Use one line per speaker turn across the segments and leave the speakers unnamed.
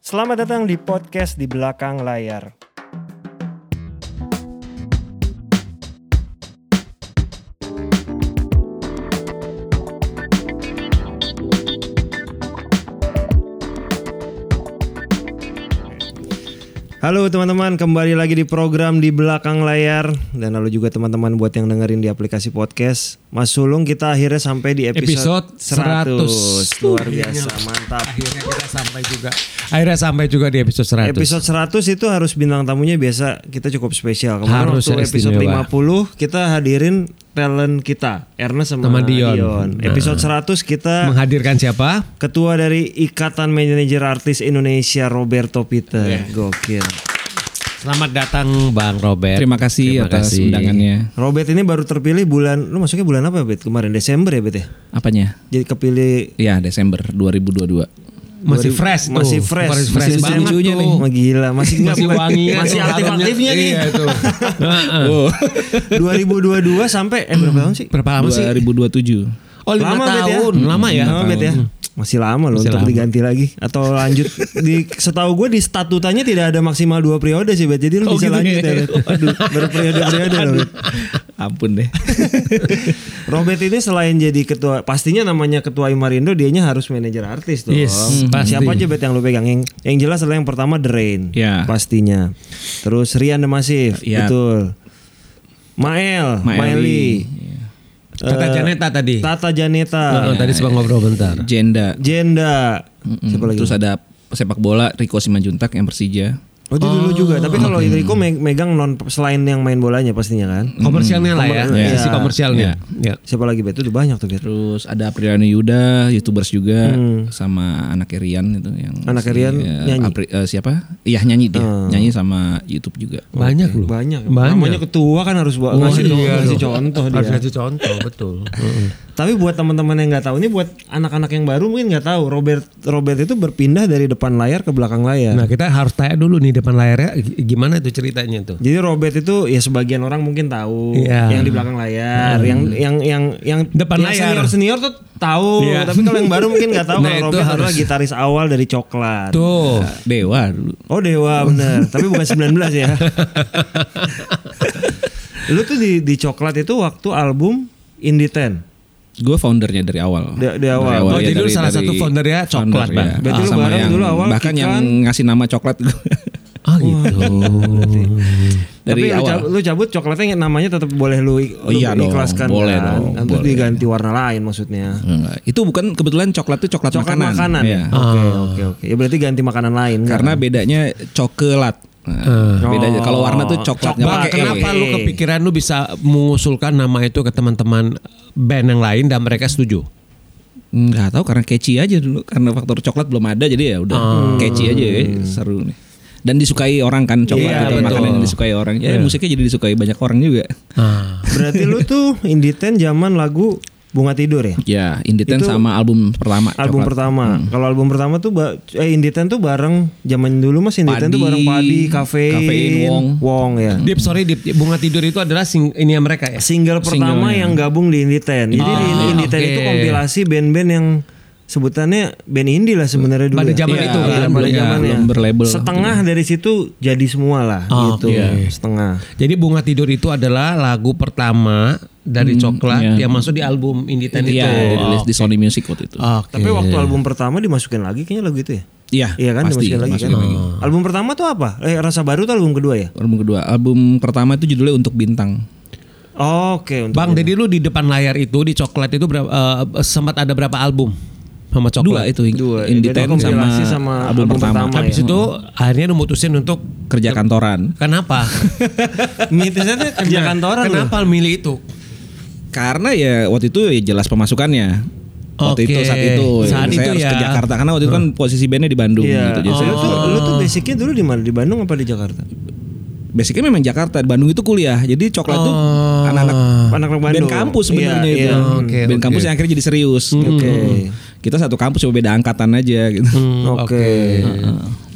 Selamat datang di podcast di belakang layar. Halo teman-teman, kembali lagi di program di belakang layar dan lalu juga teman-teman buat yang dengerin di aplikasi podcast. Mas Sulung kita akhirnya sampai di episode,
Episode
100.
100.
Luar biasa, mantap.
Akhirnya kita sampai juga. Akhirnya sampai juga di episode 100.
Episode 100 itu harus bintang tamunya biasa kita cukup spesial. Kemarin
Harus
waktu
ya,
episode
istimewa.
50 kita hadirin talent kita Ernest sama,
Sama
Dion.
Dion. Nah.
Episode 100 kita
Menghadirkan siapa?
ketua dari Ikatan Manajer Artis Indonesia Roberto Peter.
Iya.
Gokil.
Selamat datang Bang Robert.
Terima
Terima
kasih atas
kasih.
undangannya.
Robert ini baru terpilih bulan lu masuknya bulan apa ya, Bet? Kemarin Desember ya, Bet ya?
Apanya?
Jadi kepilih
Ya Desember 2022.
Masih fresh tuh.
masih fresh,
Masih fresh
Masih
banget
lucu-lucunya
tuh.
nih. Wah, gila, masih
Masih wangi.
Masih
tuh
aktif-aktifnya nih.
Iya tuh. Heeh.
2022 sampai eh berapa tahun sih?
Berapa lama sih?
2027.
Oh, lima
lama Bet,
tahun.
ya.
Lama ya?
Lama Bet ya. Masih lama loh untuk diganti lagi atau lanjut di setahu gue di statutanya tidak ada maksimal dua periode sih Bet. Jadi lu
Oh,
bisa
gitu
lanjut
ya?
ya. Bet. Aduh, berperiode-periode loh. Bet.
Ampun deh.
Robert ini selain jadi ketua, pastinya namanya ketua Imarindo dianya harus manajer artis tuh.
Yes, pasti.
Siapa aja Bet yang lu pegang? Yang, yang jelas adalah yang pertama The Rain.
Ya.
Pastinya. Terus Rian The Massive,
Ya.
betul. Mael, Maeli, Eh,
Maeli.
Tata Janeta tadi.
Tata Janeta,
Heeh, tadi sempat ngobrol bentar.
Jenda.
Jenda.
Mm-mm.
Siapa lagi?
Terus ada sepak bola Rico Simanjuntak yang Persija.
Oh itu dulu juga, tapi kalau
Hmm.
Rico me- megang non selain yang main bolanya pastinya kan.
Komersialnya lah ya.
Iya.
Sisi komersialnya. Ya.
Siapa lagi Bet? Itu udah banyak tuh Bet.
Terus ada Apriliano Yuda, youtubers juga, sama anak Rian itu yang
Anak Hmm. Rian
eh,
nyanyi? Hmm.
Apri- eh, siapa? Iya nyanyi dia, nyanyi sama YouTube juga.
Banyak loh.
Banyak.
Banyak.
Namanya ketua kan harus buat ngasih,
Oh, iya
ngasih
dong.
contoh
Harus
dia.
ngasih contoh, betul. Heeh.
Tapi buat teman-teman yang nggak tahu ini buat anak-anak yang baru mungkin nggak tahu Robert Robert itu berpindah dari depan layar ke belakang layar.
Nah, kita harus tanya dulu nih depan layarnya gi- gimana tuh ceritanya tuh.
Jadi Robert itu ya sebagian orang mungkin tahu
Iya. Hmm.
yang di belakang layar, yang yang yang yang
Depan layar.
senior senior tuh tahu,
Iya.
tapi kalau yang baru mungkin nggak tahu
Nah,
kalau
itu
Robert adalah
harus-
gitaris awal dari Coklat.
Tuh.
Dewa dulu.
Oh Dewa bener, tapi bukan 19 ya. lu tuh di di coklat itu waktu album Indie Ten.
Gue foundernya dari awal.
Da- dari awal.
Oh, jadi lu salah satu founder ya coklat, Bang.
Berarti lu
iya. Sama
bareng
yang-
dulu awal
bahkan
Kikan.
yang ngasih nama coklat gua.
Oh gitu.
dari
tapi lu
awal.
cab- lu cabut coklatnya namanya tetap boleh lu, ik-
Oh,
lu
iya dong,
ikhlaskan
boleh
kan.
dong,
Nanti
boleh.
diganti warna lain maksudnya.
Enggak, Itu bukan kebetulan coklat itu coklat,
Coklat
makanan.
makanan.
Iya.
Oh,
Oke oke oke. Ya berarti ganti makanan lain kan?
Karena bedanya coklat.
Eh.
Nah, bedanya kalau warna tuh coklat nggak
Bang,
pakai E.
kenapa lu kepikiran lu bisa mengusulkan nama itu ke teman-teman band yang lain dan mereka setuju?
Nggak tahu karena catchy aja dulu karena faktor coklat belum ada jadi ya udah
Oh.
catchy aja ya, seru nih. Dan disukai orang kan coklat
Iya,
itu
betul.
makanan yang disukai orang. Ya
Iya.
musiknya jadi disukai banyak orang juga.
Ah.
Berarti lu tuh Indie Ten zaman lagu Bunga Tidur ya?
Ya, Inditen
Itu
sama album pertama.
Album
Coklat.
pertama. Kalau album pertama tuh ba- eh Indie Ten tuh bareng zaman dulu Mas Indie Ten tuh bareng
Padi,
Padi, Kafein,
Kafein, Wong. Hmm.
Wong ya.
Deep sorry Deep, bunga tidur itu adalah sing, ini yang mereka ya.
single pertama yang gabung di Indie Ten. Jadi di Indie- Indie Ten
oke.
itu kompilasi band-band yang sebutannya band indie lah sebenarnya dulu.
Pada
ya.
zaman
Iya,
itu kan,
iya, pada
belum-
zamannya.
belum berlabel.
Setengah dari situ jadi semua lah gitu. Setengah.
Jadi bunga tidur itu adalah lagu pertama dari coklat yang masuk di album Inditan
Hmm,
itu.
Iya,
ya.
dirilis di Sony Music waktu itu.
Oke.
Tapi waktu album pertama dimasukin lagi kayaknya lagu itu ya.
Iya,
Iya kan
pasti,
dimasukin lagi
masukin
kan.
lagi.
Album pertama tuh apa? Eh, Rasa Baru tuh album kedua ya?
Album kedua, album pertama itu judulnya Untuk Bintang.
Oke, untuk
Iya.
Bang, jadi lu di depan layar itu di coklat itu berapa, eh, sempat ada berapa album sama
Dua
coklat?
itu,
Dua,
In
eh, jadi
Detail sama,
kompilasi sama
album,
album
pertama.
pertama. ya.
Habis itu akhirnya lu mutusin untuk
Kerja kantoran.
kenapa? Nah,
mitisnya tuh kerja kantoran loh.
kenapa milih itu?
Karena ya waktu itu ya jelas pemasukannya.
Oke.
Waktu itu saat itu,
Saat
saya
itu
harus
ya.
ke Jakarta karena waktu itu kan posisi bandnya di Bandung gitu.
Iya.
Jadi saya
Lu tuh lu tuh basicnya dulu di mana? Di Bandung apa di Jakarta?
basicnya memang Jakarta, Bandung itu kuliah. Jadi coklat tuh anak-anak
Anak-anak
band
Bandung.
kampus sebenarnya
Iya,
itu.
iya.
Oke,
band
oke.
kampus yang akhirnya jadi serius. Oke. Kita satu kampus cuma beda angkatan aja gitu.
Hmm, Oke.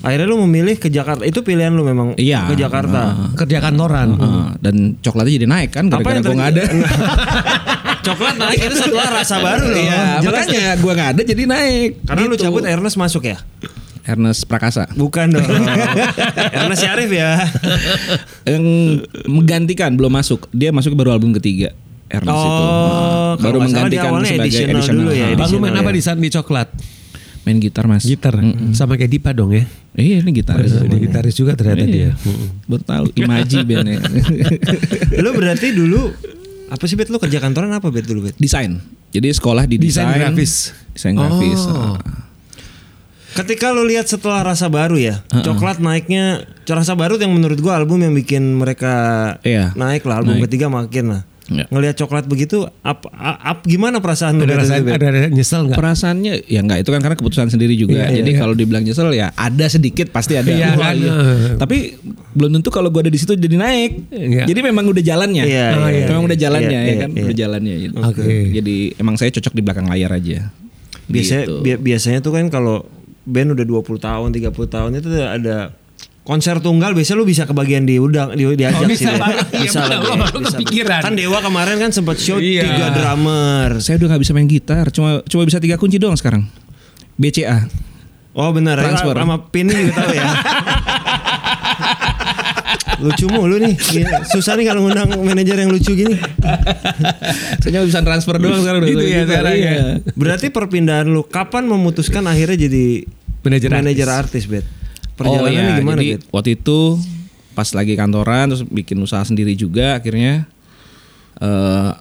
Akhirnya lu memilih ke Jakarta. Itu pilihan lu memang
Iya.
ke Jakarta.
Kerja kantoran.
Gitu.
Heeh, Ah, dan coklatnya jadi naik kan gara-gara
yang
gue nggak ada.
Coklat naik itu setelah rasa baru loh.
Iya, makanya gue nggak ada jadi naik.
Karena lu cabut Ernest masuk ya?
Ernest Prakasa
Bukan dong. Karena si Arif ya.
yang menggantikan belum masuk dia masuk baru album ketiga Ernest itu
Oh, kalau nggak salah
Nah, baru
dia
menggantikan
awalnya
sebagai
additional
additional,
dulu ya,
Ah,
Bang lu
Additional
main apa
ya.
di sana di coklat?
main gitar mas
Gitar. Sama kayak Dipa dong ya.
iya ini gitar
Jadi gitaris juga ternyata dia.
baru tahu imaji bandnya
lu berarti dulu apa sih bet lu kerja kantoran apa bet dulu bet?
desain jadi sekolah di desain
Desain grafis.
desain grafis
Oh.
Ah.
Ketika lu lihat setelah rasa baru ya, coklat naiknya rasa baru yang menurut gua album yang bikin mereka
Iya.
naik lah album ketiga makin lah.
Iya.
Ngelihat coklat begitu up, up, up gimana perasaan lu?
Ada
Berarti,
rasa
Bet?
ada, ada nyesel nggak?
Perasaannya ya enggak itu kan karena keputusan sendiri juga. Jadi kalau dibilang nyesel ya ada sedikit pasti ada.
Iya, kan?
Wah, iya. Tapi belum tentu kalau gua ada di situ jadi naik.
Iya.
Jadi memang udah jalannya.
Iya,
Oh,
iya, iya,
memang udah jalannya
iya,
ya kan,
iya,
udah
iya.
jalannya gitu.
Oke.
Jadi emang saya cocok di belakang layar aja. Gitu.
Biasanya bi- biasanya tuh kan kalau band udah 20 tahun, 30 tahun itu tuh ada konser tunggal biasanya lu bisa kebagian diundang di, diajak
Oh, bisa
sih. Bet.
banget. Iya,
Bisa
bener.
lah, Bet.
Gua baru
Bisa.
kepikiran.
Kan Dewa kemarin kan sempat show
Iya.
tiga drummer.
Saya udah nggak bisa main gitar, cuma cuma bisa tiga kunci doang sekarang. BCA.
Oh benar,
Transfer.
transfer sama pin juga tahu ya. lucu mulu nih, Gila, susah nih kalau ngundang manajer yang lucu gini.
saya cuma bisa transfer doang sekarang udah.
Gitu ya
Gitar,
sekarang ya.
iya.
Berarti perpindahan lu kapan memutuskan akhirnya jadi
Manajer
artis, Bet?
oh,
Perjalanannya
iya.
gimana, gitu?
Jadi,
Bet?
waktu itu pas lagi kantoran terus bikin usaha sendiri juga akhirnya eh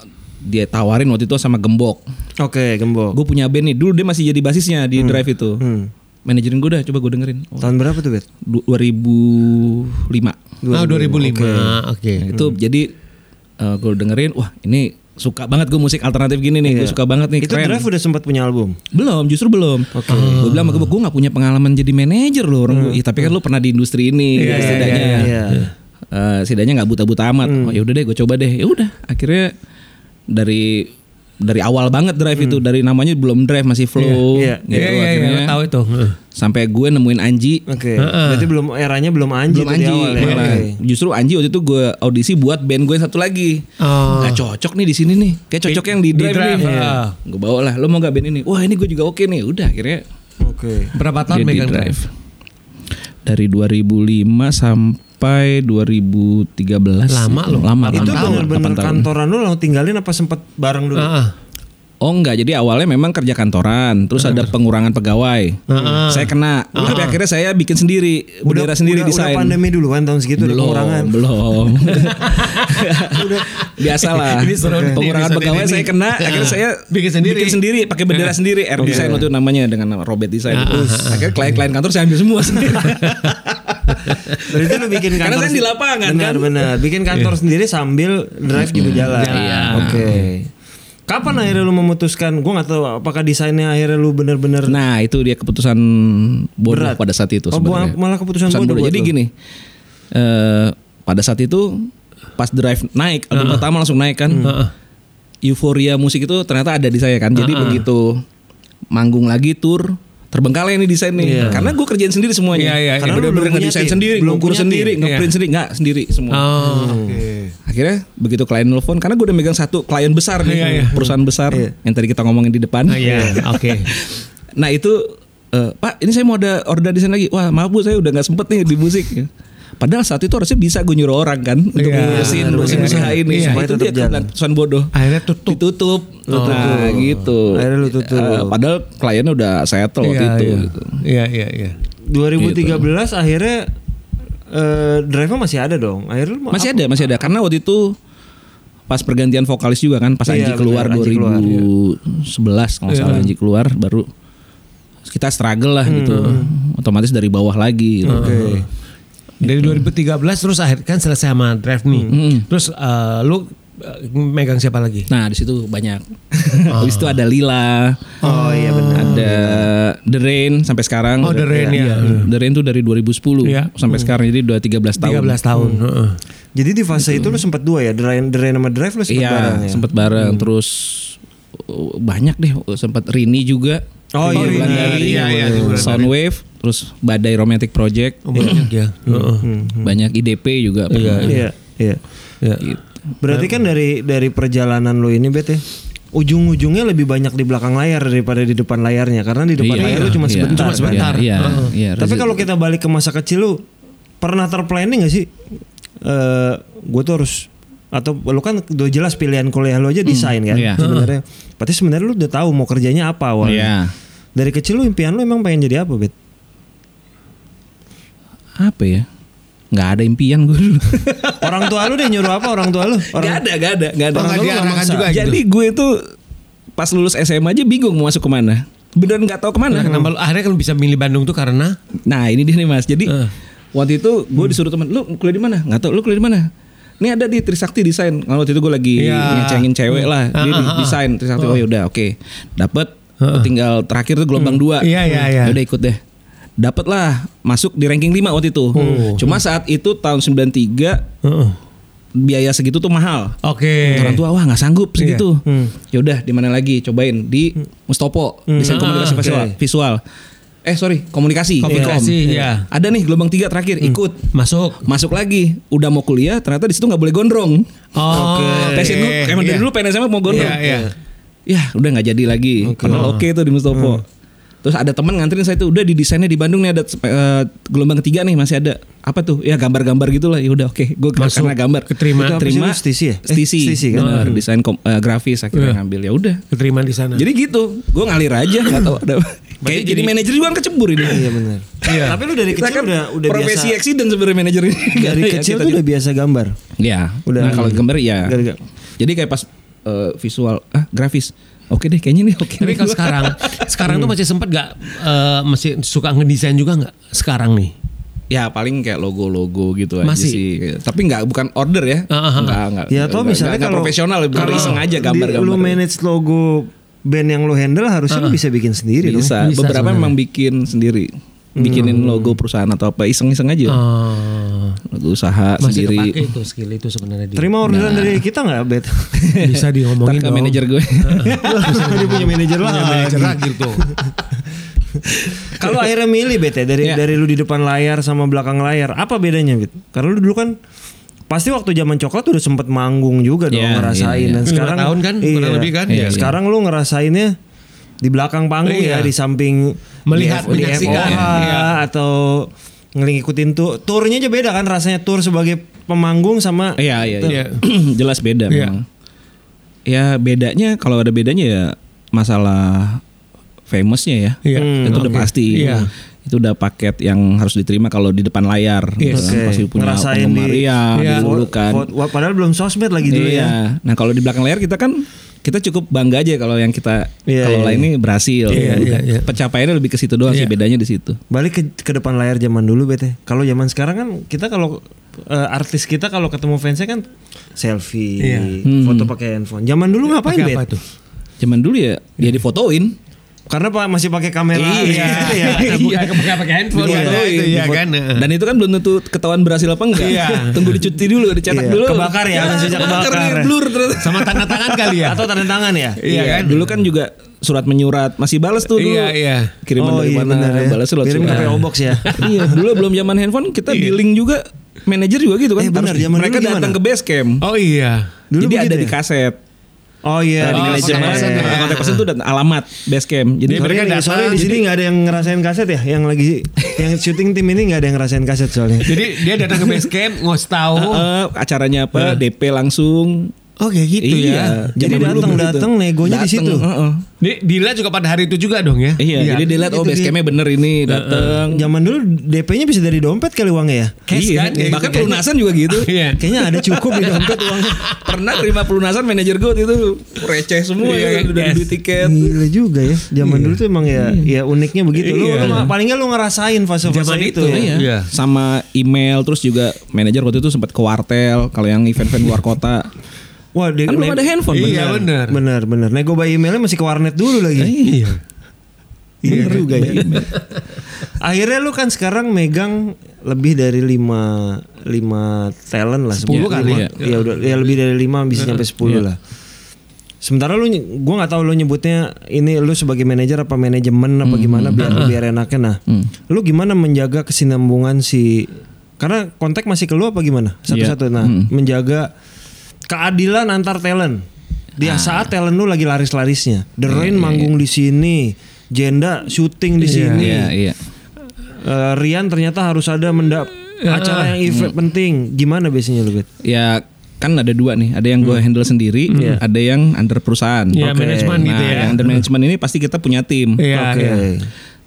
dia tawarin waktu itu sama Gembok.
Oke, gembok.
Gue punya band nih. Dulu dia masih jadi basisnya di Drive itu.
Hmm.
Manajerin gue dah coba gue dengerin. Oh,
Tahun berapa tuh, Bet?
du- 2005.
Ah 2005. Oke.
Nah,
Hmm.
itu jadi gue dengerin wah ini suka banget gue musik alternatif gini nih. Gue suka banget nih
Iya. Itu
keren.
Drive udah sempat punya album.
Belum, justru belum. Gue bilang sama gue, gue gak punya pengalaman jadi manajer loh orang gue. "Ih, tapi kan lo pernah di industri ini, setidaknya.
Hmm. iya, iya.
Eh, setidaknya nggak buta-buta amat. Oh, ya udah deh, gue coba deh. Ya udah, akhirnya dari dari awal banget drive itu, dari namanya belum drive masih flow,
Iya,
gitu
Iya iya
akhirnya.
iya. Tahu itu.
Sampai gue nemuin Anji.
Oke. Berarti belum eranya belum Anji tuh
Belum Iya.
di
Anji,
awal ya.
malah.
Oke.
justru Anji waktu itu gue audisi buat band gue satu lagi.
Oh.
Nggak cocok nih di sini nih, kayak cocok yang di
di
drive,
drive,
nih.
iya.
Gue bawa lah, lo mau gak band ini? Wah ini gue juga oke nih, udah akhirnya
Oke.
Berapa tahun
Dia di
megang
drive.
drive?
Dari 2005 sampai 2013.
Lama loh.
Lama.
Itu
delapan tahun,
bener-bener
delapan tahun.
kantoran lu langsung tinggalin apa sempat bareng dulu?
Heeh.
Oh enggak, jadi awalnya memang kerja kantoran, terus
Eh.
ada pengurangan pegawai. Saya kena, tapi akhirnya saya bikin sendiri, bendera sendiri
udah,
desain.
Udah pandemi duluan tahun segitu udah pengurangan.
belum. Biasalah.
Ini seru nih,
pengurangan
episode
pegawai
ini.
saya kena, akhirnya saya
Bikin sendiri. Iya.
bikin sendiri, pakai bendera sendiri, air design waktu itu namanya dengan nama Robert Design. Terus akhirnya klien-klien kantor saya ambil semua sendiri.
Berarti lu bikin kantor
Karena saya di
sen-
lapangan,
benar,
kan?
Benar Bikin kantor sendiri sambil drive juga jalan.
Iya.
Oke. Kapan
Hmm.
akhirnya lu memutuskan? Gue nggak tahu apakah desainnya akhirnya lu bener-bener
Nah itu dia keputusan bodoh
Berat.
pada saat itu
Oh,
sebenarnya.
buang- malah keputusan bodoh buat
Jadi
lo.
gini, eh, pada saat itu pas drive naik, album pertama langsung naik kan. Euforia musik itu ternyata ada di saya kan. Jadi begitu manggung lagi tur terbengkalai nih desain nih. Karena gue kerjain sendiri
Iya,
semuanya.
iya,
iya.
Karena udah bener
Belum punya
ngedesain
tim,
sendiri,
belum
ngukur
punya
sendiri,
tim.
ngeprint sendiri, nggak sendiri semua.
Oh. Oke.
Akhirnya begitu klien nelfon karena gue udah megang satu klien besar nih,
Iya, iya.
perusahaan besar yang tadi kita ngomongin di depan.
Ah, Iya. Oke.
Nah itu eh, Pak ini saya mau ada order desain lagi Wah maaf bu saya udah gak sempet nih di musik Padahal saat itu harusnya bisa gue nyuruh orang kan Untuk
Iya,
ngurusin
bener,
ngurusin
bener.
usaha ini Nah,
Iya.
Itu
Supaya
dia
tetap jalan. Oh,
keputusan bodoh
Akhirnya tutup.
Ditutup Nah gitu
Akhirnya lu tutup.
Eh, Padahal kliennya udah settle waktu
Iya
itu
iya.
gitu.
Iya iya iya.
2013 akhirnya eh drive-nya masih ada dong. Akhirnya lu mau
Masih
apa?
ada masih ada Karena waktu itu Pas pergantian vokalis juga kan Pas
Iya,
Anji keluar
benar, Anji keluar,
2011 Kalau nggak salah Anji keluar baru kita struggle
Hmm,
lah gitu Otomatis dari bawah lagi gitu.
Dari 2013 terus akhir kan selesai sama drive nih. Terus eh, lu eh, megang siapa lagi?
Nah di situ banyak. Habis itu ada Lila.
Oh iya benar.
Ada The Rain sampai sekarang. Iya. Hmm.
Oh, The Rain,
iya.
ya.
The Rain tuh dari 2010
Iya.
sampai
Hmm.
sekarang jadi udah 13 tahun.
13 tahun. Mm. Heeh.
Jadi di fase itu lu sempat dua ya, drain drain sama drive lu sempat
Gitu. Iya,
bareng ya.
sempet bareng terus uh, banyak deh uh, sempet Rini juga.
Oh, iya,
Bulan
Rini.
Dari,
Iya, iya, di Bulan
Soundwave, terus Badai Romantic Project,
Oh, banyak ya. Heeh.
banyak IDP juga.
Hmm. Iya. Iya.
Iya.
Berarti kan dari dari perjalanan lu ini bet ya. ujung-ujungnya lebih banyak di belakang layar daripada di depan layarnya karena di depan
Iya,
layar lu
iya,
cuma
iya.
sebentar.
Cuma
kan?
sebentar. Iya,
Heeh.
iya,
Tapi
Rezi-
kalau kita balik ke masa kecil lu pernah terplanning gak sih? Eh gue tuh harus atau lu kan udah jelas pilihan kuliah lu aja desain kan
iya.
sebenarnya. Berarti sebenarnya lu udah tahu mau kerjanya apa awalnya.
Iya.
Dari kecil lu impian lu emang pengen jadi apa, Bet?
Apa ya? Nggak ada impian gue dulu.
Orang tua lu deh nyuruh apa orang tua lu? Orang
Nggak ada, nggak ada, nggak
Orang
ada. Nggak
tua lu nggak
diarahkan
maksa.
juga gitu.
Jadi gue tuh pas lulus SMA aja bingung mau masuk kemana. Beneran nggak tahu kemana.
Kenapa lu akhirnya kan bisa milih Bandung tuh karena
Nah ini dia nih mas. Jadi
Eh.
waktu itu gue disuruh teman, lu kuliah di mana? Nggak tau. Lu kuliah di mana? Ini ada di Trisakti Desain. Kalau waktu itu gue lagi
Iya.
ngecengin cewek lah. Dia
Ah,
di
ah, ah.
desain Trisakti. Oh yaudah oke. Dapet. Tinggal terakhir tuh gelombang dua. Hmm.
Iya, iya, iya.
Yaudah ikut deh. Dapet lah masuk di ranking 5 waktu itu.
Oh.
Cuma saat itu tahun 93
Heeh.
biaya segitu tuh mahal.
Oke. Iya. Hmm.
Orang tua wah nggak sanggup segitu. Yaudah di mana lagi? Cobain di Mustopo, desain komunikasi
Ah,
visual. visual. Eh sorry, komunikasi.
Komunikasi,
Vkom.
iya. Hmm.
Ada nih gelombang tiga terakhir ikut.
Masuk.
Masuk lagi, udah mau kuliah, ternyata di situ nggak boleh gondrong.
Oh, oke.
Passion gua, emang dari
Iya.
dulu pengen SMA mau gondrong.
Iya, iya.
Ya udah nggak jadi lagi. Padahal
Oh.
oke tuh di Mustopo.
Hmm.
Terus ada teman nganterin saya tuh udah di desainnya di Bandung nih ada eh, gelombang ketiga nih masih ada apa tuh ya gambar-gambar gitulah ya udah oke gue
Masuk.
karena gambar
Keterima.
Itu apa sih
terima
lu, STC ya? Eh,
STC,
STC kan? Iya.
Benar, desain kom- eh, grafis akhirnya ngambil ya udah
Keterima di sana.
jadi gitu gue ngalir aja nggak tahu ada kayak jadi, manajer juga kan kecebur ini
Iya benar. Tapi lu dari
Kita kan
kecil udah udah
profesi
biasa
accident sebenarnya manajer ini
dari
Ya,
kecil
kita
tuh
juga.
udah biasa gambar.
ya
Udah.
udah nah, kalau gambar ya
Gara-gara-
jadi kayak pas eh, visual ah grafis oke deh kayaknya nih oke
Tapi
nih
kalau
gua.
sekarang, sekarang tuh masih sempet gak eh, masih suka ngedesain juga nggak sekarang nih?
ya paling kayak logo-logo gitu aja
Masih?
sih tapi nggak bukan order ya
Ah, ah, ah.
nggak nggak
Ya atau
nggak-
misalnya
nggak
kalau
profesional
kalau
lebih sengaja
di-
gambar-gambar
Lu manage logo band yang lu handle harusnya lu bisa bikin sendiri dong. Hmm.
bisa.
Bisa
beberapa
sebenarnya.
memang bikin sendiri bikinin logo perusahaan atau apa iseng-iseng aja
Oh,
logo usaha
masih
sendiri
kepake itu skill itu sebenarnya di-
Terima orderan dari kita nggak, Bet?
bisa
Ntar
diomongin
ke
dong. Ah,
manajer gue
Dia punya manajer lah.
manajer lagi tuh.
Kalau akhirnya milih Bet ya dari
Iya.
dari lu di depan layar sama belakang layar, apa bedanya Bet? Karena lu dulu kan pasti waktu zaman coklat udah sempet manggung juga dong
Iya,
ngerasain
iya, iya.
dan
Lima
sekarang
tahun kan, kurang lebih kan?
Iya,
Iya,
sekarang lu ngerasainnya di belakang panggung ya
Iya.
di samping di
Melihat,
F- di
menyaksikan,
FOH,
iya.
atau ngikutin tuh turnya aja beda kan rasanya tur sebagai pemanggung sama
iya iya
Iya.
iya jelas beda
Iya.
memang ya bedanya kalau ada bedanya ya masalah famousnya ya
Iya.
itu udah
Oke.
pasti
Iya.
itu udah paket yang harus diterima kalau di depan layar
Yes.
Gitu kan.
Oke.
pasti punya
Ngerasain
penggemar
di-
ya
Iya.
dulu kan
Fo- fo- padahal belum sosmed lagi dulu
iya.
ya
Nah kalau di belakang layar kita kan kita cukup bangga aja kalau yang kita
Iya,
kalau
iya,
lain ini berhasil. Gitu kan.
Iya, iya, iya.
Pencapaiannya lebih ke situ doang
Iya.
sih bedanya di situ.
balik ke, ke depan layar zaman dulu bete kalau zaman sekarang kan kita kalau eh, artis kita kalau ketemu fansnya kan selfie
Iya.
foto pakai handphone zaman dulu ngapain
Pakai
bet
apa tuh?
Zaman dulu
Iya.
ya dia difotoin.
karena pak masih pakai kamera
Iya.
gitu ya.
Bukan pakai pakai handphone
Iya.
kan itu ya
Difot-
kan.
Dan itu kan belum tentu ketahuan berhasil apa enggak.
Iya.
Tunggu dicuci dulu,
Iya.
dicetak dulu.
Kebakar ya, langsungnya kebakar.
nih, blur ternyata.
Sama tanda tangan kali ya.
atau tanda tangan ya
Iya kan? Dulu kan juga surat menyurat masih balas tuh dulu.
Iya, iya.
Kiriman dari mana
benar ya.
balas surat.
kirim ke PO box ya Iya.
iya, dulu belum zaman handphone kita billing juga manajer juga gitu
Eh,
kan.
benar,
Harus-
zaman dulu
mereka
gimana?
datang ke base camp.
Oh iya.
Dulu
Jadi
begitu
ada di
ya?
kaset.
oh iya
Dari
di
manajer.
manajer. ya.
Nah, kontak person itu dan alamat base camp.
Sorry,
Dia
Jadi
Iya. mereka
nih,
datang,
sorry di sini nggak ada yang ngerasain kaset ya, yang lagi yang syuting tim ini nggak ada yang ngerasain kaset soalnya.
Jadi dia datang ke base camp ngos tahu.
Oh.
eh, acaranya apa? DP langsung.
Oh kayak gitu
iya.
ya.
Jadi
Zaman dulu
datang-
begitu.
datang negonya di
Datang,
situ.
gitu.
oh.
heeh.
Di- Dila juga pada hari itu juga dong ya.
Iya, jadi dia lihat oh
Itu
base
dia.
campnya bener ini datang.
Zaman dulu DP-nya bisa dari dompet kali uangnya ya.
Cash
Iya,
kan, ya
bahkan
gitu kan.
pelunasan juga gitu.
Iya.
Kayaknya ada cukup di dompet uangnya.
Pernah terima pelunasan manajer gue waktu itu receh semua
Iya,
ya,
kan,
udah
yes.
duit tiket.
Gila juga ya. Zaman dulu tuh emang ya ya uniknya begitu. Lu, lu ma- paling nggak lu ngerasain fase-fase
Zaman
itu. ya.
itu,
Iya.
Iya.
Sama email terus juga manajer waktu itu sempat ke wartel kalau yang event-event luar kota.
Wah, dia
Kan belum ada handphone.
Iya, benar.
Benar, benar. Nego by emailnya masih ke warnet dulu lagi.
Iya.
Iya juga ya. Akhirnya lu kan sekarang megang lebih dari 5 5 talent lah
10
sebenarnya.
kali
Lima-
ya.
Ya udah ya lebih dari 5 bisa nyampe 10 lah. Sementara lu ny- gua nggak tahu lu nyebutnya ini lu sebagai manajer apa manajemen
Hmm,
apa gimana biar biar enaknya nah. Lu gimana menjaga kesinambungan si karena
Iya. Hmm.
kontak masih ke lu apa gimana? Satu-satu nah, menjaga keadilan antar talent. Di
Ah.
saat talent lu lagi laris-larisnya. The Rain manggung di sini, Jenda syuting di sini.
Iya, Iya, iya.
Eh, Rian ternyata harus ada menda
Ah,
acara yang
iya.
event penting. Gimana biasanya lu, Bet?
Ya kan ada dua nih, ada yang gue
Hmm.
handle sendiri,
Iya.
ada yang under perusahaan.
Ya,
Oke.
manajemen
nah,
gitu ya.
yang under manajemen ini pasti kita punya tim.
Iya,
Oke.
iya.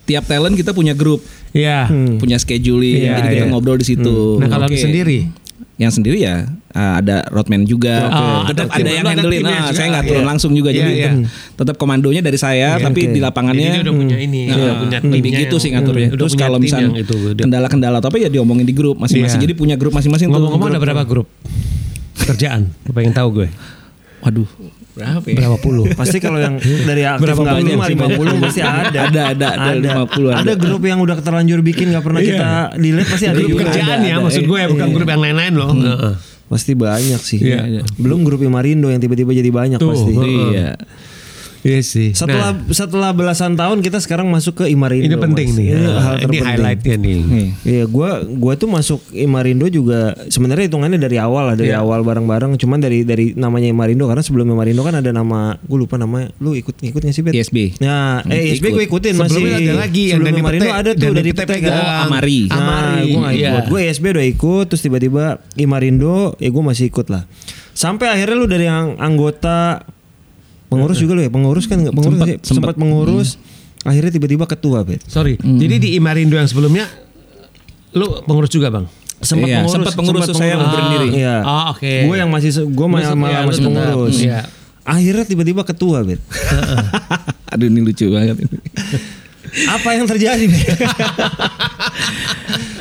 Tiap talent kita punya grup,
Iya.
punya scheduling,
Iya,
jadi kita
iya.
ngobrol di situ.
Nah, kalau
Hmm. Oke.
sendiri?
yang sendiri ya uh, ada roadman juga,
Oh,
tetap
ada
ada,
tim-
yang
ada
handlein.
timnya
Nah,
juga.
saya nggak turun
Iya.
langsung juga,
Iya,
jadi
iya.
tetap, tetap komandonya dari saya, tapi di lapangannya
Jadi dia udah punya ini,
Nah,
udah punya
lebih
timnya
gitu
yang-
sih ngaturnya.
udah
Terus
punya
kalau
tim
misalnya
yang itu, dia-
kendala-kendala atau apa ya diomongin di grup masing-masing.
Iya.
Jadi punya grup masing-masing. tuh.
Ngomong-ngomong ada
Grup.
berapa grup? Kerjaan, gue pengen tahu gue.
Waduh, berapa ya?
Berapa puluh?
Pasti kalau yang dari aktif
Berapa
nggak
puluh?
lima lima puluh pasti ada.
Ada, ada, ada 50 ada.
Ada grup yang udah keterlanjur bikin nggak pernah kita dilihat pasti ada
Iya. grup
juga.
kerjaan
Ada,
ya
ada.
maksud gue
Iya.
ya, bukan grup yang lain-lain loh.
Hmm.
Heeh.
Pasti banyak sih.
Iya.
Iya. Belum grup Imarindo yang tiba-tiba jadi banyak
Tuh,
pasti.
heeh.
Iya.
Iya sih.
Setelah
Nah,
setelah belasan tahun kita sekarang masuk ke Imarindo.
ini penting
Mas.
nih.
Iya,
Ini
Nah,
hal
Ini
terpenting.
highlightnya nih.
Nih.
Iya, gua gua tuh masuk Imarindo juga sebenarnya hitungannya dari awal lah, dari
Iya.
awal bareng-bareng. Cuman dari dari namanya Imarindo karena sebelum Imarindo kan ada nama gue lupa namanya. Lu ikut ikut nggak sih, Bet?
ISB.
Nah, eh ISB
Ikut.
gue ikutin masih.
Hmm. Sebelumnya ada lagi yang
sebelum
dari
Imarindo
Pete-
ada tuh
dari
dari
Pete
Pete
Pegang.
Gang.
Amari.
Nah,
Amari,
gue nggak
iya.
ikut. Gue ISB udah ikut, terus tiba-tiba Imarindo, ya gue masih ikut lah. Sampai akhirnya lu dari yang anggota
Iya.
pengurus juga lu ya, pengurus kan nggak pengurus
Sempet,
sih? sempat pengurus.
Hmm.
Akhirnya tiba-tiba ketua, Bet.
Sorry.
Hmm.
Jadi di Imarindo yang sebelumnya lu pengurus juga, Bang?
Sempat
Iya,
pengurus,
sempat pengurus,
pengurus.
saya mundur diri.
Iya.
Ah, oke.
Gue yang masih gue malah,
Masuk,
malah
ya,
masih
lu tetap.
pengurus.
Iya.
Akhirnya tiba-tiba ketua, Bet.
Aduh ini lucu banget ini.
Apa yang terjadi, Bet?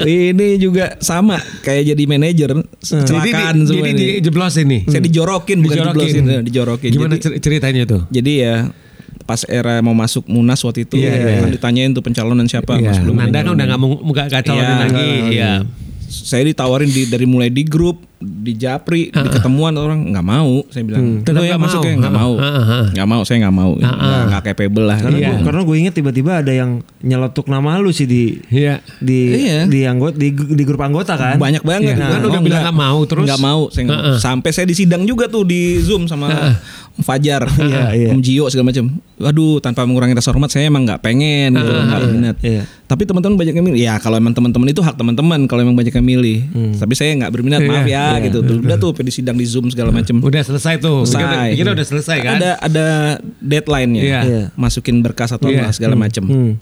ini juga sama kayak jadi manajer kecelakaan
jadi, Hmm. di,
semua
jadi
ini. Hmm.
dijeblos ini.
Saya dijorokin bukan dijorokin, eh, dijorokin.
Gimana
Jadi-
cer- ceritanya tuh?
Jadi ya pas era mau masuk Munas waktu itu
Iya, iya,
kan ditanyain tuh pencalonan siapa
Iya.
Mas belum
Nanda
ada
kan udah nggak mau nggak nggak calonin
Nah, Iya,
lagi.
nggak,
Iya.
saya ditawarin di, dari mulai di grup di Japri di ketemuan orang nggak mau saya
Hmm.
bilang
Tetap
"Lo ya
nggak
masuk
mau.
ya nggak mau
Ah, ah, ah.
nggak mau saya nggak mau
Ah, ah.
nggak nggak capable lah
karena
Iya.
gue karena gue inget tiba-tiba ada yang nyeletuk nama lu sih di
Iya.
di
Iya.
di anggota di, di grup anggota kan.
banyak banget
Iya. Kan
Oh,
udah bilang
nggak-
nggak mau, terus?
nggak mau saya nggak mau. sampai saya disidang juga tuh di zoom sama Om Fajar
iya.
Om Jio segala macam waduh tanpa mengurangi rasa hormat saya emang nggak pengen gitu nggak minat
Iya.
tapi teman-teman banyak yang milih ya kalau emang teman-teman itu hak teman-teman kalau emang banyak yang milih
Hmm.
tapi saya nggak berminat maaf ya gitu udah tuh disidang di zoom segala
Iya.
macam
Udah selesai tuh.
selesai.
Kita udah selesai kan?
Ada ada deadline-nya.
Iya.
Iya.
Masukin berkas atau
Iya.
apa segala macem.
Hmm.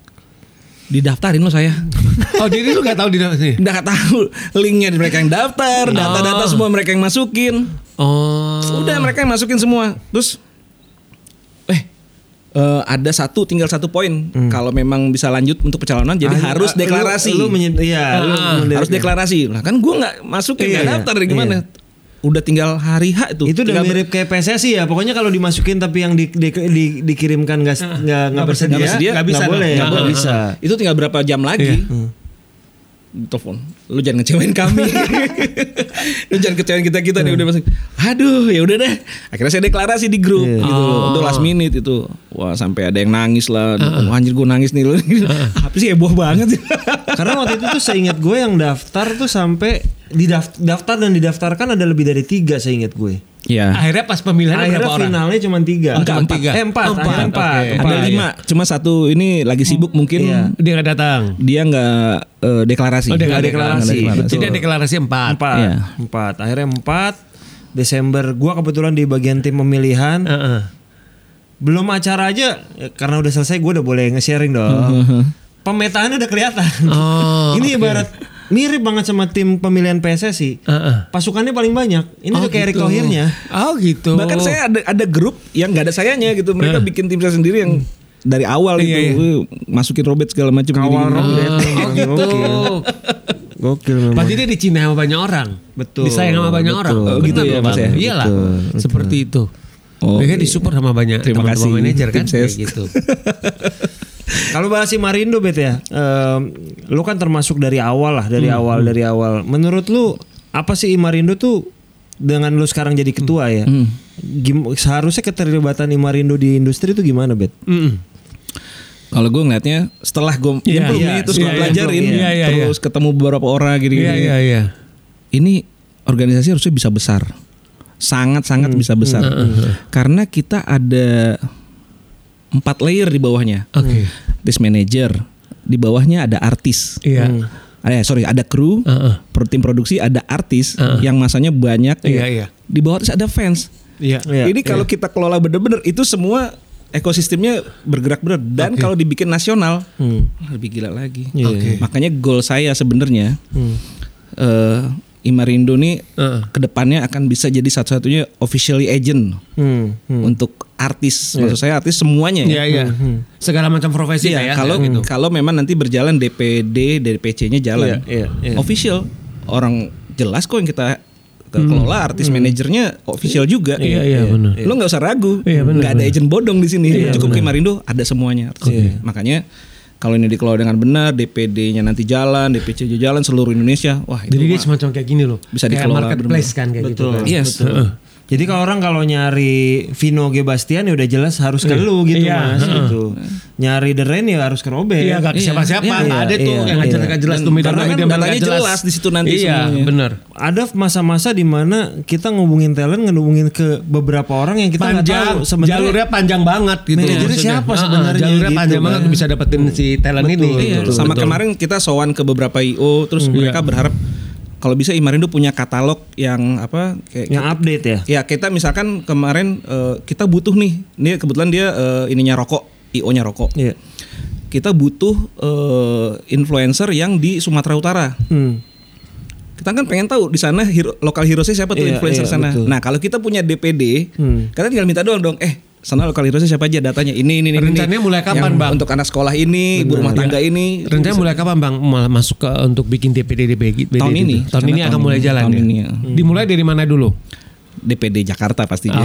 Didaftarin lo saya.
Oh jadi lu nggak tahu di dalam sini?
Udah gak tahu linknya di mereka yang daftar, data-data semua mereka yang masukin.
Oh.
Udah mereka yang masukin semua. Terus eh eh, ada satu tinggal satu poin kalau memang bisa lanjut untuk pencalonan jadi
Hmm. Ah,
harus
lu-
deklarasi ah.
Lu, menye- iya, lu mendeklarikan.
harus deklarasi lah kan gua nggak masukin nggak
Iya,
daftar gimana udah tinggal hari H itu
Itu udah
Tinggal-
mirip kayak PSSI ya. Pokoknya kalau dimasukin tapi yang di, di- di- dikirimkan nggak nggak nggak bersedia,
nggak bersedia,
nggak
nggak
bisa,
bisa
boleh,
dong. Ah,
nggak
Nggak
bisa. Iya.
itu tinggal berapa jam lagi Hmm. telepon lu jangan ngecewain kami lu jangan kecewain kita kita
Iya.
nih udah masuk aduh ya udah deh akhirnya saya deklarasi di grup
Iya.
gitu loh. untuk
Oh.
last minute itu wah sampai ada yang nangis lah Wah, anjir gue nangis nih lu apa sih heboh banget sih
Karena waktu itu tuh seingat gue yang daftar tuh sampai didaft- daftar dan didaftarkan ada lebih dari tiga seingat gue. Iya.
ya
Akhirnya pas pemilihan
Akhirnya
berapa orang?
finalnya cuma tiga.
Enggak,
Empat.
tiga.
Eh, empat.
Empat,
Akhirnya empat.
oke.
Empat.
ada lima cuma satu ini lagi sibuk mungkin
Iya.
Dia nggak datang.
dia nggak eh, deklarasi
Oh, dia nggak
Nggak deklarasi.
Nggak
Betul.
Jadi ada deklarasi empat.
Empat.
Iya.
Empat. Akhirnya empat. Desember gue kebetulan di bagian tim pemilihan.
Heeh.
Belum acara aja eh, karena udah selesai gue udah boleh nge-sharing dong. Pemetaannya udah kelihatan.
Oh,
Ini ibarat mirip banget sama tim pemilihan PSSI.
Heeh.
Pasukannya paling banyak. Ini
Ah. Oh,
tuh kayak Erick
gitu.
Thohir-nya.
Oh gitu. Eh.
Bahkan saya ada ada grup yang nggak ada sayanya gitu. Mereka bikin tim saya sendiri yang dari awal
Iya, iya.
itu eh, masukin robet segala macam
Kawal
gini-gini. Eh.
Robert.
Oh gitu.
Gokil memang.
Pasti dia dicina sama banyak orang.
Betul,
Disayang sama banyak
betul.
orang.
Oh, gitu
Benar
ya,
loh,
Mas,
Bang.
ya?
Iyalah.
Betul,
Seperti itu.
Oh,
Mereka
iya.
disupport sama banyak
Terima
teman-teman
kasih,
manajer kan
tim
kayak
ses.
gitu.
Kalau bahas si Marindo bet ya, em, lu kan termasuk dari awal lah, dari awal dari awal. Menurut lu apa sih Imarindo tuh dengan lu sekarang jadi ketua ya?
hmm.
Gim- seharusnya keterlibatan Imarindo di industri itu gimana bet?
Mm-mm.
Kalau gue ngelihatnya setelah gue
Iya,
improve
iya.
nih, terus gue
Iya, iya,
pelajarin,
improve, iya. Iya, iya,
terus ketemu beberapa orang gitu.
Iya iya iya.
Ini organisasi harusnya bisa besar. sangat-sangat bisa besar.
Hmm,
Karena kita ada empat layer di bawahnya.
Oke.
Artist manager, di bawahnya ada artis.
Iya.
Ada sorry, ada kru,
Heeh.
pro- tim produksi, ada artis yang masanya banyak.
Iya,
ya.
iya.
Di bawah terus ada fans.
Iya.
Iya,
Ini kalau kita kelola bener-bener itu semua ekosistemnya bergerak bener dan kalau dibikin nasional lebih gila lagi.
Iya.
Makanya goal saya sebenarnya eh, Imarindo nih
Heeh.
kedepannya akan bisa jadi satu-satunya officially agent
Hmm, hmm.
untuk artis. Maksud saya artis semuanya
Iya,
ya.
iya. Segala macam profesi lah
Iya,
ya.
kalau
gitu.
kalau memang nanti berjalan DPD DPC-nya
Iya,
jalan.
iya, iya.
Official orang jelas kok yang kita ke- kelola artis manajernya official juga.
Hmm. Iya, iya, benar.
Lo nggak usah ragu.
Iya, benar, Iya,
nggak ada agent bodong di sini. Cukup Kimarindo ada semuanya. Makanya kalau ini dikelola dengan benar, DPD-nya nanti jalan, DPC-nya jalan seluruh Indonesia. Wah, itu
Jadi dia
mah-
semacam kayak gini loh.
Bisa
kayak
dikelola Iya,
marketplace kan kayak gitu.
Betul.
Kan.
Yes.
Heeh.
Jadi kalau orang kalau nyari Vino Gebastian ya udah jelas harus ke lu gitu
Iya,
mas gitu. Nyari The Rain ya harus ke Robert.
Iya, gak ke
Iya.
siapa-siapa.
Iya,
Nggak ada
iya,
tuh
iya.
yang acara nggak jelas tuh media
Karena kan
media nggak
datanya jelas di situ nanti
Iya,
semuanya.
benar.
Ada masa-masa di mana kita ngubungin talent, ngubungin ke beberapa orang yang kita nggak
panjang
tahu sebenarnya.
jalurnya panjang banget gitu
Manajernya
maksudnya.
siapa
Heeh,
sebenarnya
jalurnya
gitu
panjang
kan.
banget bisa dapetin si talent ini
Iya,
gitu.
sama kemarin kita sowan ke beberapa IO terus
Hmm.
mereka
Iya.
berharap kalau bisa Imarindo punya katalog yang apa kayak
Yang update ya.
ya kita misalkan kemarin eh, kita butuh nih ini kebetulan dia eh, ininya rokok IO-nya rokok.
Iya.
Kita butuh eh, influencer yang di Sumatera Utara.
Hmm.
Kita kan pengen tahu di sana hero, lokal hero siapa tuh
Iya,
influencer
iya,
sana.
betul.
Nah, kalau kita punya DPD,
Hmm.
kita tinggal minta doang dong. Eh, sana lokal hero siapa aja datanya ini ini ini. ini.
Rencananya mulai kapan,
Yang
Bang?
Untuk anak sekolah ini, ibu rumah tangga
Iya.
ini.
Rencananya mulai kapan Bang malah masuk ke untuk bikin DPD DPD
Tahun
gitu?
ini.
Tahun ini
Karena
akan
tahun
mulai
ini,
jalan
tahun
ya.
ini, ya.
Dimulai dari mana dulu? Ah,
DPD Jakarta pastinya.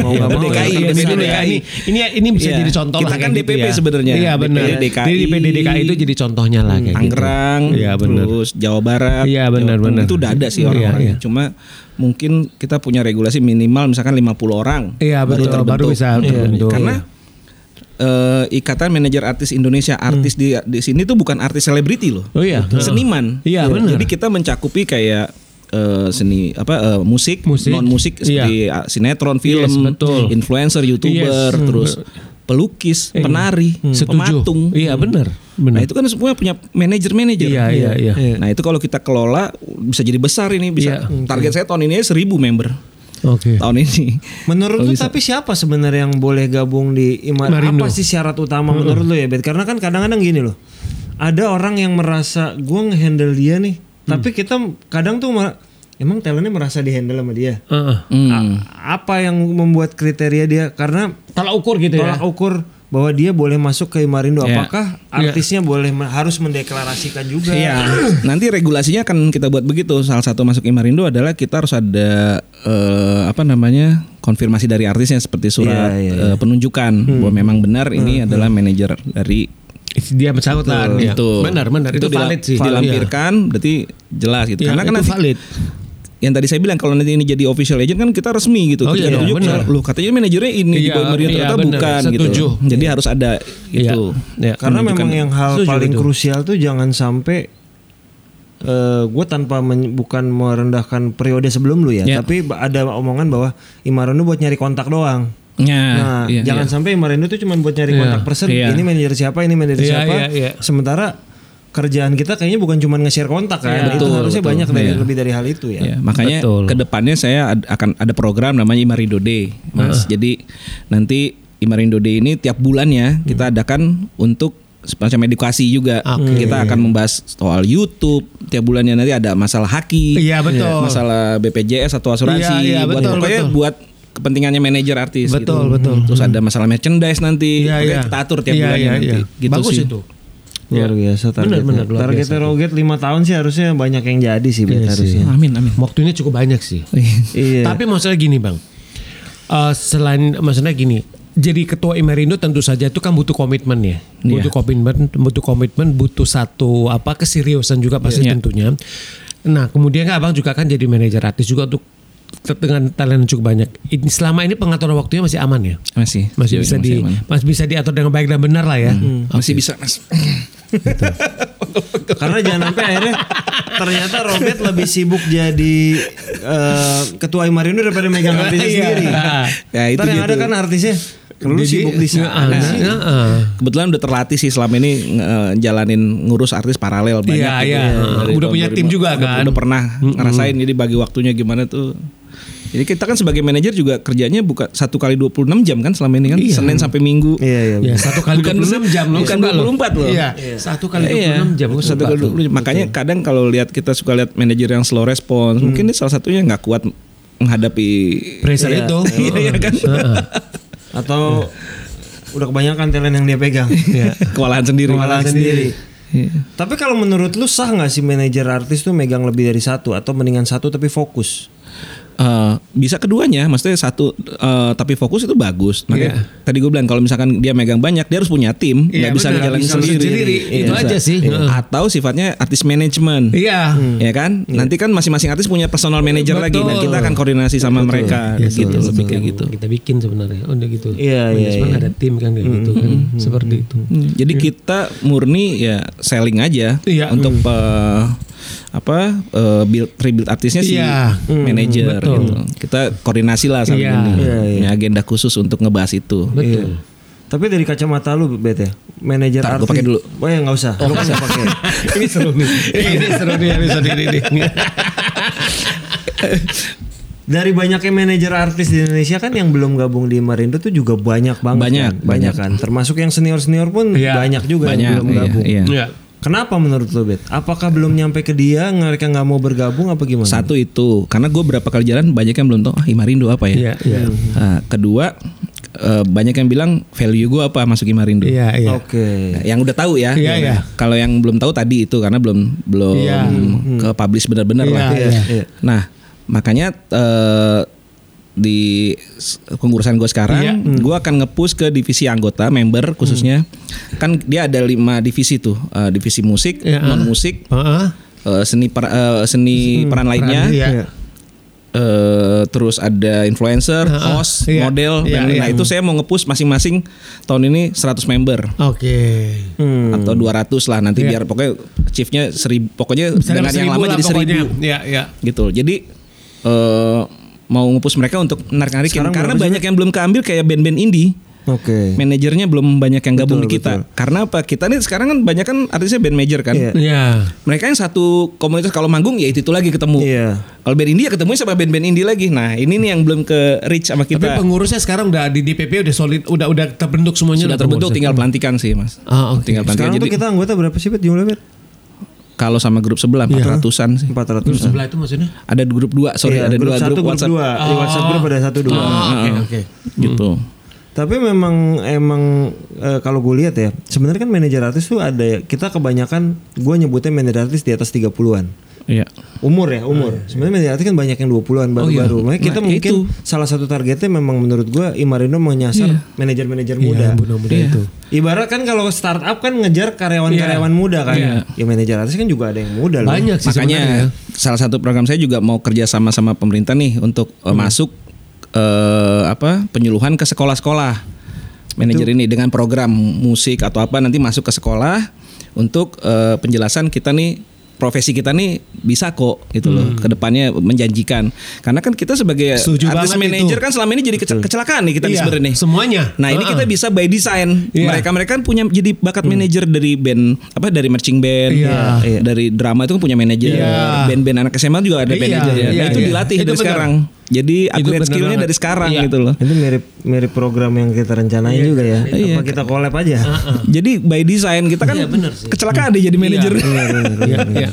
Mau nggak
Atau
mau
DKI,
ya,
DPD
kan
dulu ya. Ini ini ini bisa
Iya.
jadi contoh
Kita
lah kayak
kan
gitu
DPP
ya.
sebenarnya.
Iya benar.
DPD DKI.
Jadi DPD DKI itu jadi contohnya lah
Hmm.
kayak gitu.
Tanggerang,
Iya benar.
terus Jawa Barat,
Iya, benar,
Jawa Timur.
benar.
Itu udah ada sih
Iya,
orang-orangnya.
iya.
Cuma mungkin kita punya regulasi minimal misalkan 50 orang.
Iya betul. Baru,
terbentuk.
bisa
Iya.
terbentuk.
Karena eh, ikatan manajer artis Indonesia, artis di di sini tuh bukan artis selebriti loh.
Hmm. Oh iya.
Betul. seniman.
Iya, benar.
Jadi kita mencakupi kayak eh, seni apa eh, musik,
Musik. Iya.
non musik seperti eh, sinetron, film,
Yes, betul.
influencer, youtuber,
Yes. Hmm. Iya.
terus pelukis, penari,
setuju.
pematung.
Iya benar.
Nah
Benar.
itu kan semua punya manajer-manajer.
Iya, iya, iya.
Nah itu kalau kita kelola bisa jadi besar ini bisa.
Iya.
Target saya tahun ini aja seribu member
Iya.
Oke.
tahun ini.
Menurut lu tapi siapa sebenarnya yang boleh gabung di Imar?
Marindo.
Apa sih syarat utama
Hmm.
menurut lu ya, Bet? Karena kan kadang-kadang gini loh. Ada orang yang merasa gue ngehandle dia nih,
Hmm.
tapi kita kadang tuh mer- emang talentnya merasa dihandle sama dia.
Heeh.
Hmm.
A- apa yang membuat kriteria dia? Karena
Tolak ukur gitu ya.
tolak ukur bahwa dia boleh masuk ke Imarindo.
Iya.
Apakah artisnya boleh me- harus mendeklarasikan juga?
Iya. Nanti regulasinya akan kita buat begitu. Salah satu masuk Imarindo adalah kita harus ada eh, apa namanya konfirmasi dari artisnya seperti
Iya,
surat
Hmm. iya,
eh, penunjukan bahwa memang benar ini adalah manajer dari
dia bersangkut lah
Betul.
itu Iya. benar benar itu,
dila-
valid sih
Dilampirkan berarti jelas gitu.
Iya,
Karena kan
itu
nanti
valid.
yang tadi saya bilang kalau nanti ini jadi official agent kan kita resmi gitu.
Oh,
Kita
iya,
tunjuk,
benar.
Loh katanya manajernya ini di
Iya,
bawah Mario
iya,
ternyata
benar.
bukan
Setuju.
gitu. Jadi harus ada
Iya.
itu.
Iya.
Karena memang yang hal
Setuju,
paling
betul.
krusial tuh jangan sampai gue tanpa men- bukan merendahkan periode sebelum lu ya,
Ya.
tapi ba- ada omongan bahwa Imarondo buat nyari kontak doang.
Ya,
Nah,
iya,
jangan
iya.
sampai Imarondo tuh cuma buat nyari kontak person.
Iya.
Ini manajer siapa, ini manajer
Iya,
siapa.
iya, iya.
Sementara kerjaan kita kayaknya bukan cuma nge-share kontak kan. itu
Betul,
harusnya
betul.
banyak dari
Iya.
lebih dari hal itu ya.
Ya, makanya
Hmm, Betul.
kedepannya saya ad- akan ada program namanya Imarindo Day,
Ah.
Mas. Jadi nanti Imarindo Day ini tiap
Hmm.
bulannya kita adakan untuk semacam edukasi juga. Kita akan membahas soal YouTube. Tiap bulannya nanti ada masalah haki,
Iya, betul.
masalah BPJS atau asuransi.
Iya, iya,
buat
betul,
pokoknya
betul.
buat kepentingannya manajer artis.
Betul,
gitu.
betul. Hmm.
Terus ada masalah merchandise nanti.
Iya,
Pokoknya
iya.
kita atur tiap
Iya,
bulannya
iya,
nanti.
iya.
Gitu
bagus
sih.
itu
Luar biasa targetnya.
Iya. benar, luar Iya
targetnya Roget 5 tahun sih harusnya banyak yang jadi sih Bet, harusnya.
Amin, amin.
waktunya cukup banyak sih
Iya.
tapi maksudnya gini bang Eh, selain maksudnya gini jadi ketua Imerindo tentu saja itu kan butuh komitmen ya butuh komitmen butuh komitmen butuh satu apa keseriusan juga pasti tentunya nah kemudian kan abang juga kan jadi manajer artis juga untuk dengan talent yang cukup banyak Ini- selama ini pengaturan waktunya masih aman ya
Iya, Masih.
masih bisa di Hmm,
aman. Hmm.
masih bisa diatur dengan baik dan benar lah ya
Masih bisa, Mas.
Karena jangan sampai akhirnya ternyata Robert lebih sibuk jadi eh, ketua Imarindo daripada megang artisnya
Iya.
sendiri.
Ya, itu
Ntar yang
gitu.
ada kan artisnya, lu
Jadi, ah, iya.
sibuk di sana.
Nah.
Nah,
Heeh,
sih.
heeh.
Kebetulan udah terlatih sih selama ini eh, jalanin ngurus artis paralel banyak.
Iya,
gitu.
iya.
Dari
Udah
tahun
punya tim
2000.
juga
Udah-
kan?
Udah pernah ngerasain jadi bagi waktunya gimana tuh. Jadi kita kan sebagai manajer juga kerjanya buka satu kali 26 jam kan selama ini kan Senin sampai Minggu.
Iya iya.
Ya, satu kali
Bukan
26 jam loh.
bukan
Pak,
24 loh.
Iya, satu kali
Iya,
26 jam. oh,
satu kali 26 jam. Makanya kadang kalau lihat kita suka lihat manajer yang slow response, mungkin ini salah satunya nggak kuat menghadapi
Hmm. Pressure
Iya,
itu.
iya, iya kan?
Heeh.
Atau udah kebanyakan talent yang dia pegang.
Iya.
kewalahan sendiri.
Kewalahan sendiri.
Iya.
Tapi kalau menurut lu sah nggak sih manajer artis tuh megang lebih dari satu atau mendingan satu tapi fokus?
Eh, bisa keduanya, maksudnya satu eh, tapi fokus itu bagus. Makanya tadi gue bilang kalau misalkan dia megang banyak, dia harus punya tim,
Iya,
nggak bisa
benar,
ngejalanin
bisa
sendiri.
sendiri. Itu
Iya.
aja sih.
Iya.
Heeh.
Atau sifatnya artis manajemen.
Iya.
Ya kan, nanti kan masing-masing artis punya personal manager lagi, dan
Betul. Iya,
kita akan koordinasi sama mereka, gitu lebih kayak gitu.
Yang Kita bikin sebenarnya. Oh, udah gitu.
Iya, iya,
Manajemen ada tim kan kayak gitu kan. Seperti itu.
Hmm, Jadi kita murni ya selling aja
Iya.
untuk eh, apa eh, build rebuild artisnya si
Iya.
manajer
betul.
gitu. Kita koordinasi lah sama
Iya.
ini.
Iya, iya.
Punya agenda khusus untuk ngebahas itu. Iya.
Betul.
Tapi dari kacamata lu Bet ya, manajer
Ntar,
artis.
gua pakai dulu.
Oh ya nggak usah. Nggak usah pakai.
ini seru nih. ini seru nih episode ini nih.
Iya.
Dari banyaknya manajer artis di Indonesia kan yang belum gabung di Marindo tuh juga banyak banget.
Banyak,
kan? banyak kan. Termasuk yang senior senior pun
Iya.
banyak juga
Banyak,
yang belum
iya,
gabung.
iya.
Iya.
Kenapa menurut lu Bet? Apakah belum nyampe ke dia mereka nggak mau bergabung apa gimana?
Satu itu karena gue berapa kali jalan banyak yang belum tahu ah Imarindo apa ya.
Iya, iya.
Nah, kedua eh, banyak yang bilang value gue apa masuk Imarindo.
Iya, iya.
Oke.
Nah, yang udah tahu ya.
Iya, iya.
Kalau yang belum tahu tadi itu karena belum belum
Iya.
ke publish benar-benar
Iya,
lah.
iya.
Iya.
Nah, makanya eh, di s- pengurusan gue sekarang,
Iya. Hmm.
gue akan nge-push ke divisi anggota, member khususnya. Kan dia ada lima divisi tuh, Eh, divisi musik,
Iya.
non musik,
Heeh.
eh, seni per- eh, seni peran lainnya,
Peran, iya.
eh, terus ada influencer,
Heeh.
host,
Iya.
model.
Iya,
dan-
iya.
Nah itu saya mau nge-push masing-masing tahun ini 100 member
Oke.
Hmm.
atau 200 lah nanti
Iya.
biar pokoknya chiefnya seribu pokoknya
Misalnya
dengan yang
seribu
lama
lah
jadi
pokoknya.
seribu
Iya, iya.
gitu jadi eh mau ngepus mereka untuk narik-narikin
Sekarang
karena
berapa sih,
banyak yang belum keambil kayak band-band indie
Oke.
manajernya belum banyak yang gabung
Betul,
di kita karena apa kita nih sekarang kan banyak kan artisnya band major kan
Iya.
Iya.
mereka yang satu komunitas kalau manggung ya itu, itu lagi ketemu
Iya.
kalau band indie ya ketemu sama band-band indie lagi nah ini nih yang belum ke reach sama
Tapi
kita
pengurusnya sekarang udah di DPP udah solid, udah udah terbentuk semuanya.
sudah
udah
terbentuk
pengurusnya.
tinggal pelantikan sih mas
Ah, oke.
tinggal pelantikan
Sekarang tuh
jadi
kita anggota berapa sih Bet jumlah Bet?
kalau sama grup sebelah
Iya.
400-an sih
400.
Sebelah itu maksudnya?
ada di grup dua sorry
Iya,
ada
grup
dua
satu,
grup,
grup
WhatsApp Ah,
dua. Di WhatsApp grup ada satu dua.
Oke, oke.
gitu
Tapi memang emang eh, kalau gue lihat ya, sebenarnya kan manajer artis tuh ada ya, kita kebanyakan gue nyebutnya manajer artis di atas 30-an.
iya
Umur ya,
Oh,
umur.
iya.
Sebenarnya manajer artis kan banyak yang 20-an baru-baru. Makanya kita
Nah,
mungkin
itu.
salah satu targetnya memang menurut gue Imarino menyasar
Iya.
manajer-manajer muda.
Yang muda-muda itu.
Ibarat kan kalau startup kan ngejar karyawan-karyawan muda kan. Ya manajer artis kan juga ada yang muda loh.
Iya. Banyak sih
makanya
sebenarnya. ya.
salah satu program saya juga mau kerja sama sama pemerintah nih untuk eh, masuk eh, apa penyuluhan ke sekolah-sekolah manajer ini dengan program musik atau apa nanti masuk ke sekolah untuk eh, penjelasan kita nih profesi kita nih bisa kok gitu loh kedepannya menjanjikan karena kan kita sebagai
Setuju
artis
banget
manajer
itu.
kan selama ini jadi kece- kecelakaan nih kita
Iya,
sebenarnya nih
semuanya.
nah ini
Heeh.
kita bisa by design
Iya. Hmm.
mereka mereka kan punya jadi bakat manajer dari band apa dari marching band
Iya.
Iya. dari drama itu kan punya manajer
Iya.
band-band anak SMA juga ada
Iya,
manajer ya.
iya,
nah, itu
iya.
dilatih
Itu
dari
benar.
sekarang jadi upgrade
benar
skillnya
banget.
dari sekarang
Iya.
gitu loh
Itu mirip mirip program yang kita rencanain juga ya.
iya.
Apa kita collab aja?
jadi by design kita kan kecelakaan deh jadi manajer
Iya, iya.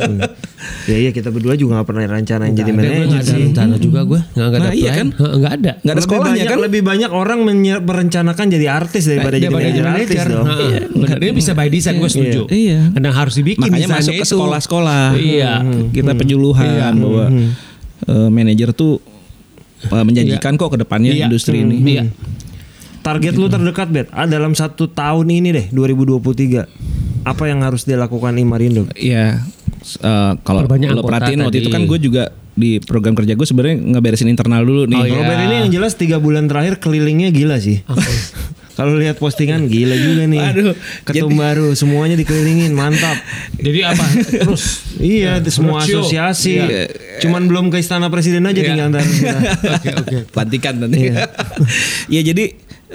Ya iya kita berdua juga gak pernah rencanain jadi
Nggak
manajer
ada
sih.
rencana juga gue. Nggak nggak ada
Nah, iya
plan.
kan?
Heeh, Nggak ada.
nggak ada
Lebih
sekolahnya
banyak-
kan Eh,
Lebih banyak orang menye- merencanakan jadi artis daripada jadi
Daripada
manajer artis dong.
Heeh, benar. Dia bisa by design gue setuju.
Iya.
Karena harus dibikin
makanya
desainnya
masuk ke Hmm.
itu.
sekolah-sekolah
Iya. hmm.
kita penjuluhan bahwa eh, manajer tuh eh, menjanjikan kok kedepannya
Iya.
industri ini
Iya.
Target
Gitu.
lu terdekat bet, ah, dalam satu tahun ini deh 2023 apa yang harus dilakukan Imarindo?
Iya. S- eh, kalau
Perbanyak
lo
anggota
perhatiin waktu
tadi.
itu kan gue juga di program kerja gue sebenarnya ngeberesin internal dulu nih.
Oh,
Kalau
iya.
Ben ini yang jelas tiga bulan terakhir kelilingnya gila sih. Kalau lihat postingan gila juga nih.
Aduh,
Ketum baru semuanya dikelilingin, mantap.
Jadi apa? Terus
Iya, di semua
roadshow.
asosiasi.
Ya, Iya.
Cuman belum ke istana presiden aja tinggal ntar kita.
oke oke. Iya.
Pelantikan nanti. ya jadi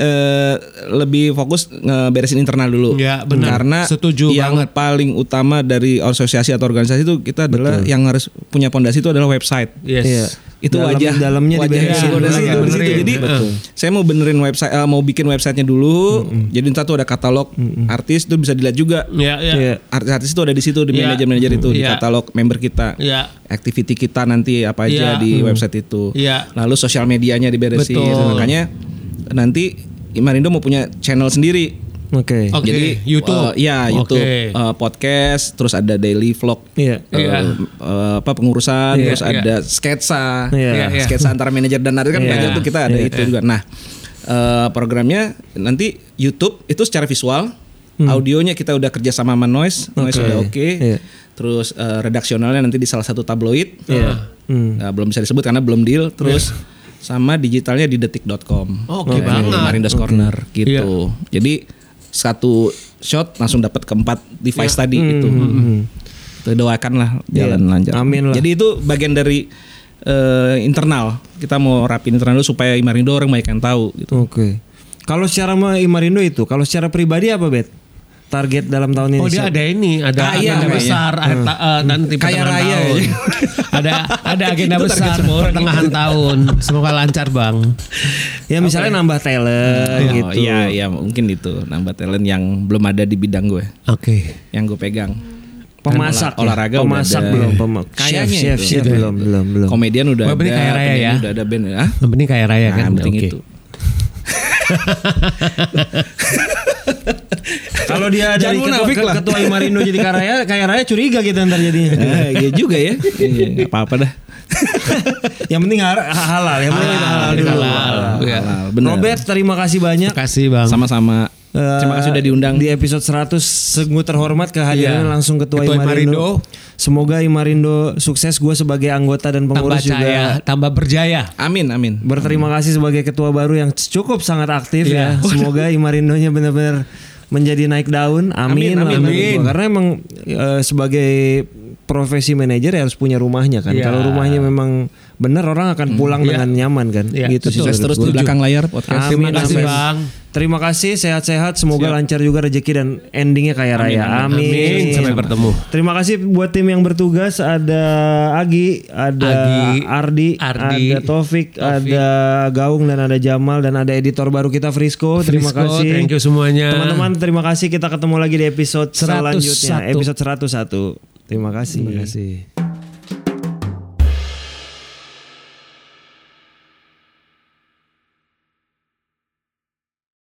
eh, lebih fokus ngeberesin internal dulu.
Ya, benar.
Karena
Setuju
yang
banget.
paling utama dari asosiasi atau organisasi itu kita adalah yang harus punya pondasi itu adalah website.
Yes.
Iya.
Itu
Dalam-
wajah
dalamnya
wajah
diberesin
yang
dulu ya,
ada di situ, di situ.
benerin.
Jadi
Betul.
saya mau benerin website eh, mau bikin websitenya dulu. Jadi ntar tuh ada katalog artis itu bisa dilihat juga.
Ya ya.
Iya.
Artis-artis itu ada di situ di
Iya.
manajer-manajer itu di
Iya.
katalog member kita.
Iya.
Activity kita nanti apa aja
Iya.
di website itu.
Iya.
Lalu sosial medianya diberesin.
Betul.
Makanya nanti Marindo mau punya channel sendiri.
Oke.
Oke, iya, YouTube.
ya
Oke.
YouTube, eh, podcast, terus ada daily vlog.
Iya.
eh,
Iya.
eh, apa pengurusan
Iya,
terus ada sketsa Nah,
Iya.
Iya, iya.
sketsa antara manajer dan artis kan
Iya.
banyak tuh kita ada
Iya.
itu juga nah eh, programnya nanti YouTube itu secara visual audionya kita udah kerja sama sama Noise
Hmm.
Noise
Oke.
udah oke
Iya.
terus eh, redaksionalnya nanti di salah satu tabloid
Iya. Hmm. Iya.
Nah, belum bisa disebut karena belum deal terus sama digitalnya di detik.com
Oke
Nah,
banget.
di Marinda's Corner
Hmm.
gitu
Iya.
jadi satu shot langsung dapat keempat device
Iya.
tadi itu Kita doakan lah jalan
Hmm. Iya.
lancar
Amin lah.
jadi itu bagian dari eh, internal kita mau rapin internal dulu supaya Marindo orang banyak yang tahu gitu
Oke. Kalau secara ma- Imarindo itu, kalau secara pribadi apa bet? Target dalam tahun ini?
Oh dia
siap-
ada ini, ada agenda
Kaya Ah, iya, kayaknya. Hmm.
besar akhir ta- eh, nanti
Kaya
pertengahan
raya
tahun.
ya.
ada ada agenda
Itu gitu. target
besar
semua orang.
pertengahan tahun. Semoga lancar bang.
Ya misalnya nambah talent
Oh,
gitu.
iya iya mungkin itu nambah talent yang belum ada di bidang gue
Oke.
yang gue pegang
Pemasak
Olah-
ya?
olahraga udah
pemasak
ada.
belum pema chef
Kayaknya
chef,
itu.
chef
Udah.
belum belum belum
komedian udah
Wah, berarti
ada
kaya raya
penyanyi
ya.
udah ada band Hah?
Yang penting kaya raya
Nah,
kan.
yang penting
Oke.
itu.
kalau dia
Jangan
dari ketua,
munafik
ke-
lah.
ketua Imarindo jadi karaya kayak raya curiga kita ntar jadinya
Eh, iya juga ya. Iya, nggak apa-apa dah.
yang penting har- halal yang penting kita halal
Halal,
dulu
halal. Iya.
Halal, bener.
Robert terima kasih banyak
Terima kasih bang.
Sama-sama. Terima kasih sudah diundang.
Eh, di episode 100 sungguh terhormat kehadirannya
Iya.
langsung ketua,
Ketua
Imarindo.
Imarindo.
Semoga Imarindo sukses gue sebagai anggota dan
tambah
pengurus
cahaya,
juga.
tambah berjaya.
Amin, amin.
Berterima kasih sebagai ketua baru yang cukup sangat aktif
Iya.
ya. Semoga Imarindonya benar-benar menjadi naik daun. Amin.
Amin, amin,
amin.
Karena emang eh, sebagai profesi manajer ya harus punya rumahnya kan.
Iya. Hmm.
Kalau rumahnya memang benar orang akan pulang dengan nyaman kan.
Iya,
Gitu sih.
Sukses
menurut
terus
gua.
di belakang layar podcast.
Amin,
Terima kasih
amin.
bang.
Terima kasih sehat-sehat semoga lancar juga rezeki dan endingnya kaya raya. Amin.
Amin. Sampai bertemu.
Terima kasih buat tim yang bertugas ada Agi, ada
Agi,
Ardi,
Ardi,
ada Taufik,
Taufik.
ada Gaung dan ada Jamal dan ada editor baru kita
Oh,
Frisco. Terima
Frisco,
kasih.
Thank you semuanya.
Teman-teman terima kasih kita ketemu lagi di episode
101.
selanjutnya episode 101. Terima kasih. Terima kasih.